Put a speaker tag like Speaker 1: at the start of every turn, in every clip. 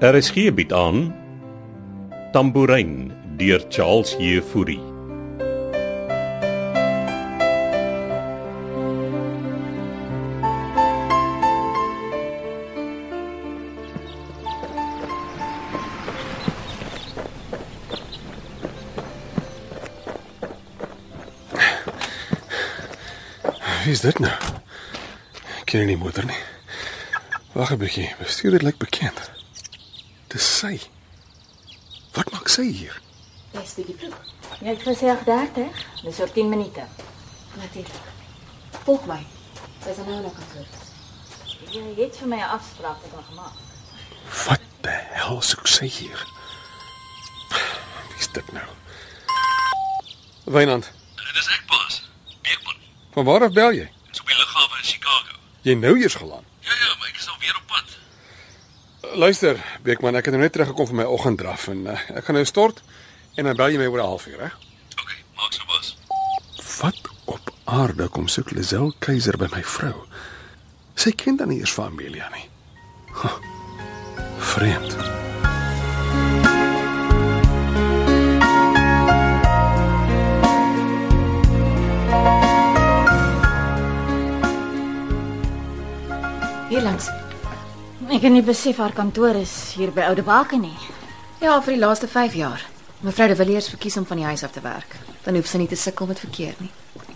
Speaker 1: RSG bied Er aan Tambourin deur Charles Heffury.
Speaker 2: Wie is dit nou? Ek ken nie die moeder nie. Wag 'n bietjie. Bestuurder lyk bekend. Dis sy. Wat maak sy hier?
Speaker 3: Dis bietjie vroeg. Jy het gesê 30, dis oor 10 minute.
Speaker 4: Natuurlijk. Volg mij. Wij zijn nou nog aan het
Speaker 3: Jy het vir my 'n afspraak met haar gemaak.
Speaker 2: Wat die hel soek sy hier? Wie is dit nou? Wynand,
Speaker 5: Dis ek pas. Beekman.
Speaker 2: van waar af bel jy?
Speaker 5: Dis op die lughawe in Chicago.
Speaker 2: Jy nou eers geland.
Speaker 5: Ja ja, maar ek is al weer op pad.
Speaker 2: Luister, Beekman, ek het nou net teruggekom van my oggenddraf en uh, ek gaan nou stort en dan bel jy my oor 'n halfuur, hè?
Speaker 5: OK, maak so was.
Speaker 2: Wat op aarde kom soek Lisel Keiser by my vrou? Sy ken dan nie eers van Amelia nie. Huh, vreemd.
Speaker 4: Hier langs.
Speaker 3: Ek het nie besef haar kantoor is hier by Oude Baken nie.
Speaker 4: Ja, vir die laaste 5 jaar. Mevrou de Villiers verkies om van die huis af te werk. Dan hoef sy nie te sukkel met verkeer nie.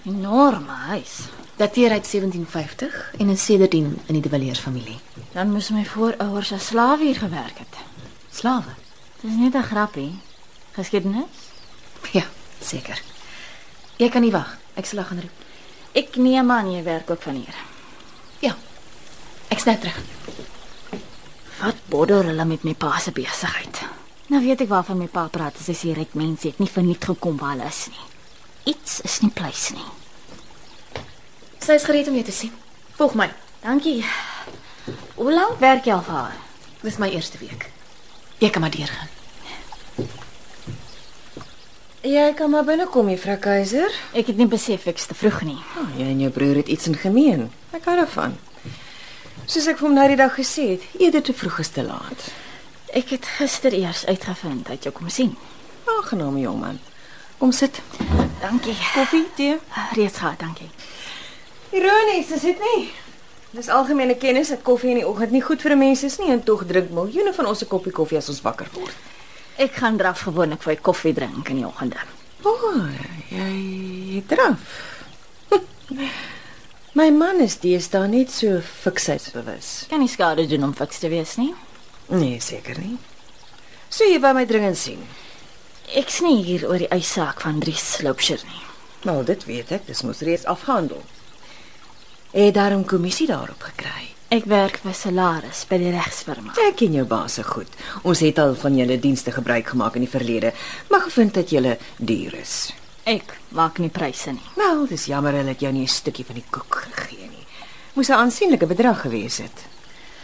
Speaker 3: Enorme huis.
Speaker 4: Dateer uit 1750 en is sedertdien in die de Villiers familie.
Speaker 3: Dan moes my voorouers as slawe hier gewerk het.
Speaker 4: Slawe.
Speaker 3: Dis net 'n grappie. Geskiedenis?
Speaker 4: Ja, seker. Jy kan nie wag. Ek sal haar gaan roep.
Speaker 3: Ek neem aan jy werk ook van hier.
Speaker 4: Ja. Ek snou terug.
Speaker 3: Wat bodder hulle met my pa se besigheid? Nou weet ek waarvan my pa praat. Sy sê ryk mense het nie verniet gekom waar hulle is nie. Iets is nie pleis nie.
Speaker 4: Sy is gereed om jou te sien. Volg my.
Speaker 3: Dankie. Hoe lank werk jy al vir haar?
Speaker 4: Dis my eerste week. Jy kan maar deurgaan.
Speaker 6: Jy kan maar binnekom, mevrou Keiser.
Speaker 3: Ek het nie besef ek's te vroeg nie.
Speaker 6: Oh, jy en jou broer het iets in gemeen. Ek hou daarvan. Soos ek vir hom nou die dag gesê het, eerder te vroeg as te laat.
Speaker 3: Ek het gister eers uitgevind dat jy kom sien.
Speaker 6: Aangename jong man. Kom sit.
Speaker 3: Dankie. Ah,
Speaker 6: Koffie, tee?
Speaker 3: Reeds gehad, dankie.
Speaker 6: Ironies, is dit nie? Dis algemene kennis dat koffie in die oggend nie goed vir 'n mens is nie en tog drink miljoene van ons 'n koppie koffie as ons wakker word.
Speaker 3: Ek gaan draf gewoonlik vir koffie drink in die oggende.
Speaker 6: O, oh, jy het draf. Hm. My man is deesdae net so fiksheidsbewus.
Speaker 3: Kan nie skade doen om fiks te wees nie.
Speaker 6: Nee, seker nie. So jy wou my dringend sien.
Speaker 3: Ek's nie hier oor die eissaak van Dries Sloupsher nie.
Speaker 6: Nou, dit weet ek, dis mos reeds afhandel. Het daarom kommissie daarop gekry.
Speaker 3: Ek werk vir Salaris by die regsfirma.
Speaker 6: Ek ken jou baas se goed. Ons het al van julle dienste gebruik gemaak in die verlede, maar gevind dat julle duur is.
Speaker 3: Ek maak nie pryse nie.
Speaker 6: Wel, dis jammer hulle het jou nie 'n stukkie van die koek gegee nie. Moes 'n aansienlike bedrag gewees het.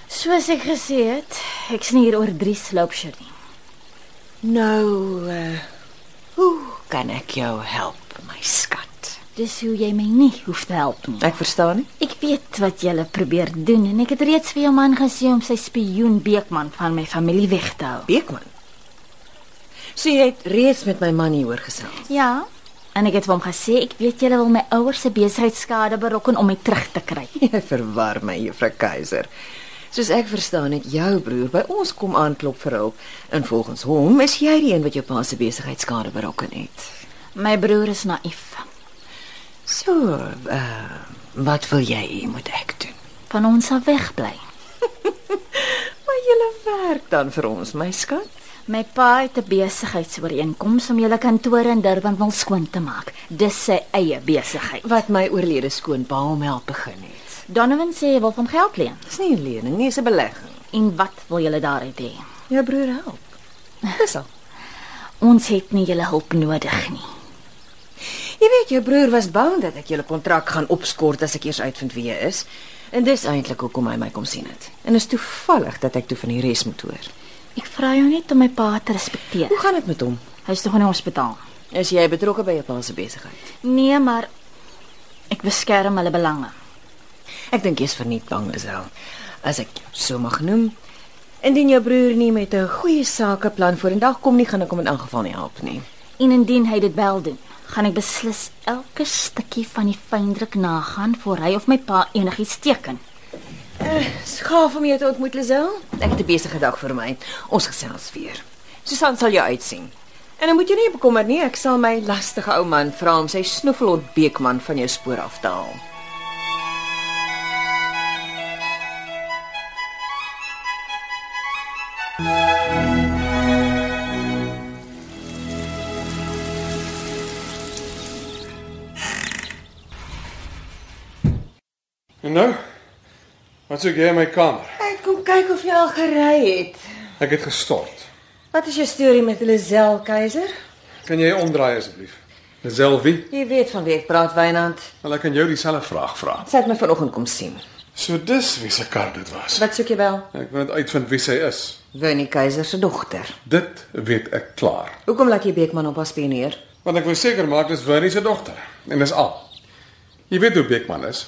Speaker 3: Soos ek gesê het, ek's nie hier oor Dries Sloupsher nie.
Speaker 6: Nou, uh, hoe kan ek jou help, my skat?
Speaker 3: Dis Dus hoe jy my nie hoef te help nie.
Speaker 6: Ek verstaan nie.
Speaker 3: Ek weet wat jy probeer doen en ek het reeds vir jou man gesê om sy spioen Beekman van my familie weg te hou.
Speaker 6: Beekman. So jy het reeds met my man hieroor gesels.
Speaker 3: Ja. En ek het vir hom gesê ek weet julle wil my ouers se besigheidsskade berokken om my terug te kry.
Speaker 6: Jy verwar my, Juffrou Keiser. Soos ek verstaan het jou broer by ons kom aanklop vir hulp en volgens hom is jy die een wat jou pa se besigheid skade berokken het.
Speaker 3: My broer is naïef.
Speaker 6: So, uh, wat wil jy hê moet ek doen?
Speaker 3: Van ons af wegbly.
Speaker 6: Maar jy werk dan vir ons, my skat.
Speaker 3: My pa het 'n besigheidsooreenkoms om julle kantore in Durban wil skoon te maak. Dis sy eie besigheid.
Speaker 6: Wat my oorlede skoonpa hom help begin het.
Speaker 3: Donovan sê hy wil van geld leen.
Speaker 6: Dis nie 'n lening nie, dis 'n belegging.
Speaker 3: En wat wil julle daaruit hê?
Speaker 6: Jou broer help. Dis al.
Speaker 3: Ons het nie julle hulp nodig nie.
Speaker 6: Jy weet jou broer was bang dat ek julle kontrak gaan opskort as ek eers uitvind wie jy is. En dis eintlik hoekom hy my kom sien het. En is toevallig dat ek toe van die res moet hoor.
Speaker 3: Ek vra jou net om my pa te respekteer.
Speaker 6: Hoe gaan dit met hom?
Speaker 3: Hy's tog in die hospitaal.
Speaker 6: Is jy betrokke by jou pa se besigheid?
Speaker 3: Nee, maar ek beskerm hulle belange.
Speaker 6: Ek dink jy's verniet bang, Israel. As ek jou so mag noem, Indien jou broer nie met 'n goeie sakeplan vorendag kom nie, gaan ek hom in elk geval nie help nie.
Speaker 3: En indien hy dit wel doen, gaan ek beslis elke stukkie van die fyndruk nagaan voor hy of my pa enigiets teken.
Speaker 6: Skaaf om jou te ontmoet, Lisel. Ek het 'n besige dag vir my. Ons gesels weer. Susan sal jou uitsien. En dan moet jy nie bekommer nie, ek sal my lastige ou man vra om sy snuffelhond Beekman van jou spoor af te haal.
Speaker 2: En nou? Wat soek jy in my kamer?
Speaker 6: Ek kom kyk of jy al gery het.
Speaker 2: Ek het gestort.
Speaker 6: Wat is jou storie met Lisel Keiser?
Speaker 2: Kan jy omdraai asseblief? Selfie,
Speaker 6: Jy weet van wie ek praat, Wynand.
Speaker 2: wil ek aan jou dieselfde vraag vra.
Speaker 6: Sy het my vanoggend kom sien.
Speaker 2: So dis wie se kar dit was.
Speaker 6: Wat soek jy wel?
Speaker 2: Ek wil net uitvind wie sy is.
Speaker 6: Winnie Keiser se dogter.
Speaker 2: Dit weet ek klaar.
Speaker 6: Hoekom laat jy Beekman op haar spioneer?
Speaker 2: Want ek wil seker maak dis Winnie se dogter en dis al. Jy weet hoe Beekman is.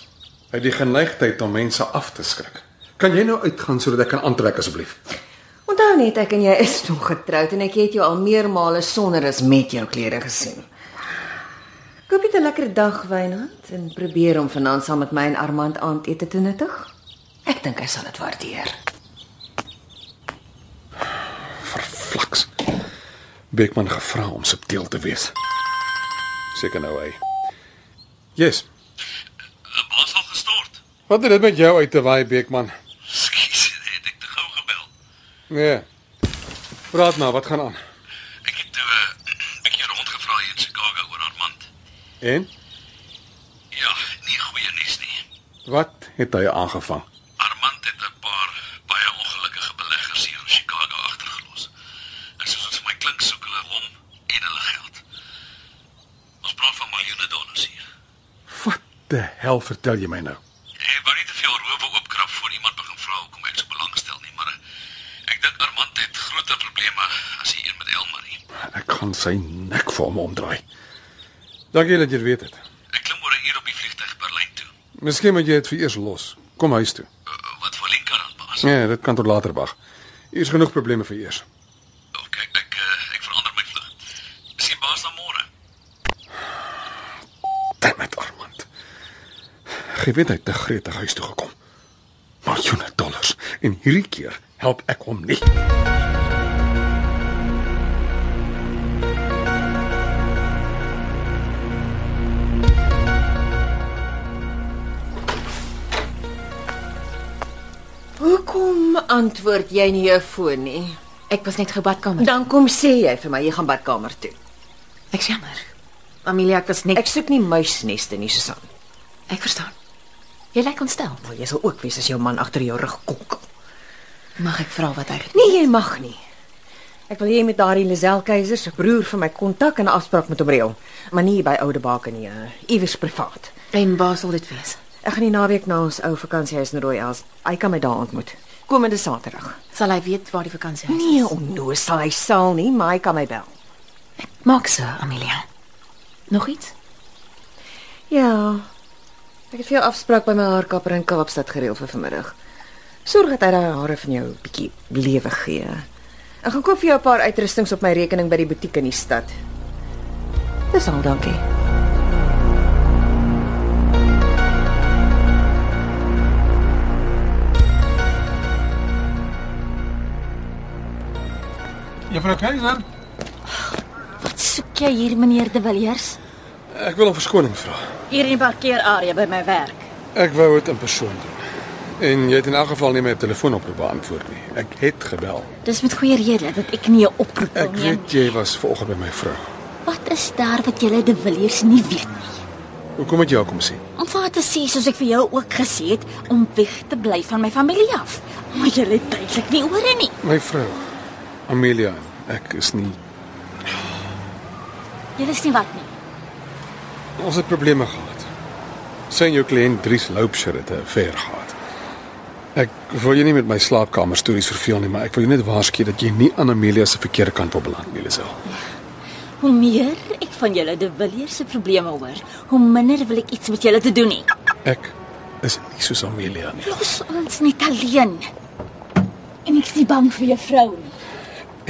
Speaker 2: Hy het die geneigtheid om mense af te skrik. Kan jy nou uitgaan sodat ek kan aantrek asseblief?
Speaker 6: Onthou net ek en jy is nog getroud en ek het jou al meermale sonder as met jou klere gesien. Koop dit 'n lekker dag, Wynand, en probeer om vanaand saam met my en Armand aandete te nuttig. Ek dink hy sal dit waardeer.
Speaker 2: Verflaks. Beekman gevra om subtiel te wees. Seker nou hy. Yes.
Speaker 5: 'n Baas al gestort.
Speaker 2: Wat het dit met jou uit te waai Beekman?
Speaker 5: Skus, het ek te gou gebel.
Speaker 2: Nee. Praat nou, wat gaan aan?
Speaker 5: Ek het toe 'n uh, bietjie rondgevra hier in Chicago oor Armand.
Speaker 2: En
Speaker 5: Ja, nie goeie nuus nie.
Speaker 2: wat het hy aangevang?
Speaker 5: Armand het 'n paar baie ongelukkige beleggers hier in Chicago agtergelos. En soos dit vir my klink, soek hulle hom en hulle geld. Ons praat van miljoene dollars hier.
Speaker 2: Wat die hel vertel jy my nou?
Speaker 5: Ek wou nie te veel rowe oopkrap voor iemand begin vra hoekom ek so belangstel nie, maar eh, ek dink Armand het groter probleme as die een met Elmarie.
Speaker 2: Ek gaan sy nek vir hom omdraai. Dankie dat jy dit weet het.
Speaker 5: Ek klim oor 'n uur op die vliegtuig Berlyn toe.
Speaker 2: Miskien moet jy dit vir eers los. Kom huis toe.
Speaker 5: Uh, wat vir Linka dan baas?
Speaker 2: Nee, dit kan tot later wag. Hier's genoeg probleme vir eers.
Speaker 5: OK, ek uh, ek verander my vlug. Sien baas dan môre.
Speaker 2: Damn it, Armand. Gewet hy te gretig huis toe gekom. Miljoene dollars en hierdie keer help ek hom nie.
Speaker 6: Hoekom antwoord jy nie jou foon nie?
Speaker 4: Ek was net gou badkamer.
Speaker 6: Dan kom sê jy vir my jy gaan badkamer toe.
Speaker 4: Ek jammer. Amelia, ek was net
Speaker 6: Ek soek nie muisneste nie, Susan.
Speaker 4: Ek verstaan. Jy lyk ontstel.
Speaker 6: Wel, jy sal ook wees as jou man agter jou rug konkel.
Speaker 4: Mag ek vra wat hy gedoen
Speaker 6: Nee, jy mag nie. Ek wil hê jy moet daardie Lisel Keiser se broer vir my kontak en 'n afspraak met hom reël, maar nie by Oude Baak nie, eh, iewers privaat.
Speaker 4: het? En waar sal dit wees?
Speaker 6: Ek gaan die naweek na ons ou vakansiehuis in Rooi Els. Hy kan my daar ontmoet. Komende Saterdag.
Speaker 4: Sal hy weet waar die vakansie is?
Speaker 6: Nee, onnoos sal hy sal nie, maar hy kan my bel.
Speaker 4: Maak so, Amelia. Nog iets?
Speaker 6: Ja. Ek het vir jou afspraak by my haarkapper in Kaapstad gereël vir vanmiddag. Sorg dat hy daai hare van jou 'n bietjie lewe gee. Ek gaan koop vir jou 'n paar uitrustings op my rekening by die butiek in die stad. Dis al, dankie.
Speaker 2: Juffrou Keiser,
Speaker 3: Wat soek jy hier, meneer De Villiers?
Speaker 2: ek wil om verskoning vra.
Speaker 3: Hier in die parkeerarea by my werk.
Speaker 2: Ek wou dit in persoon doen. En jy het in elk geval nie my telefoonoproep beantwoord nie. Ek het gebel.
Speaker 3: Dis met goeie rede dat ek nie 'n oproep wil
Speaker 2: Ek
Speaker 3: neem.
Speaker 2: weet jy was vanoggend by my vrou.
Speaker 3: Wat is daar wat julle De Villiers nie weet nie?
Speaker 2: Hoekom het jy haar kom sien?
Speaker 3: Ons het te sê soos ek vir jou ook gesê het om weg te bly van my familie af. Maar julle het duidelik nie ore nie.
Speaker 2: My vrou, Amelia, ek is nie.
Speaker 3: Julle is nie wat nie.
Speaker 2: Ons het probleme gehad. Sy en jou kliënt Dries Loupsher het 'n affair gehad. Ek wil jou nie met my slaapkamer stories verveel nie, maar ek wil jou net waarsku dat jy nie aan Amelia se verkeerde kant op beland nie, Lisel.
Speaker 3: Hoe meer ek van julle De Villiers se probleme hoor, hoe minder wil ek iets met julle te doen hê.
Speaker 2: Ek is nie soos Amelia nie.
Speaker 3: Los ons net alleen. En Ek's nie bang vir juffrou nie.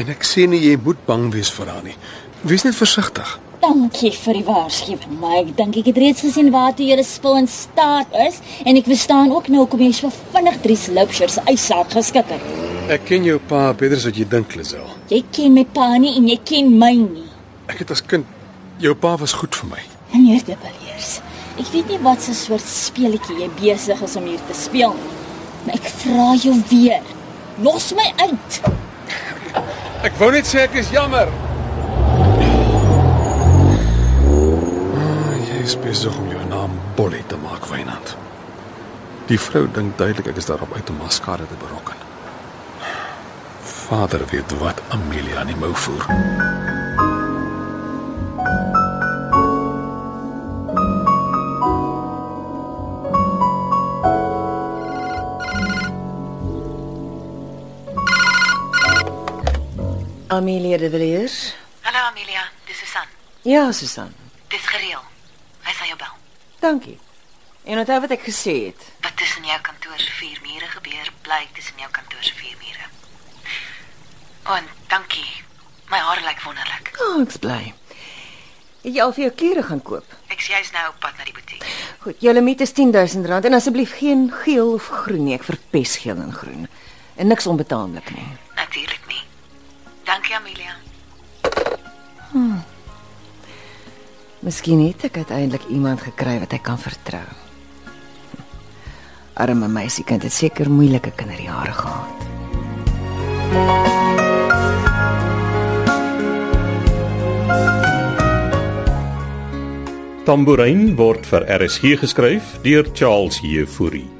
Speaker 2: En ek sê nie jy moet bang wees vir haar nie. Wees net versigtig.
Speaker 3: Dankie vir die waarskuwing, maar ek dink ek het reeds gesien waartoe julle spul in staat is en ek verstaan ook nou hoekom jy so vinnig drie sloopshers uitsaak geskik het.
Speaker 2: Ek ken jou pa beter as wat jy dink, Lisel.
Speaker 3: Jy ken my pa nie en jy ken my nie.
Speaker 2: Ek het as kind jou pa was goed vir my.
Speaker 3: Meneer De Villiers, ek weet nie wat se soort speletjie jy besig is om hier te speel nie, maar ek vra jou weer, los my uit.
Speaker 2: Ek wou net sê ek is jammer. Ah, Jy is besig om jou naam Bolly te maak, Wynand. Die vrou dink duidelik ek is daarop uit om haar skade te berokken. Vader weet wat Amelia aan die mou voer.
Speaker 6: Amelia de Villiers.
Speaker 7: Hallo Amelia, dis Susan.
Speaker 6: Ja, Susan.
Speaker 7: Dis gereël. Hy sal jou bel.
Speaker 6: Dankie. En onthou wat ek gesê het.
Speaker 7: Wat tussen jou kantoor se vier mure gebeur, bly tussen jou kantoor se vier mure. O, en dankie. My hare lyk wonderlik.
Speaker 6: Ja, oh, ek's bly. Het Jy al vir jou klere gaan koop.
Speaker 7: Ek's juis nou op pad na die butiek.
Speaker 6: Goed, jou limiet is 10000 rand en asseblief geen geel of groen nie. Ek verpes geel en groen. En niks onbetaamlik nie.
Speaker 7: Natuurlik nie. Dankie Amelia.
Speaker 6: Miskien het ek uiteindelik iemand gekry wat ek kan vertrou. Arme meisiekind het seker moeilike kinderjare gehad.
Speaker 1: Tambourin word vir RSG geskryf deur Charles Heffury.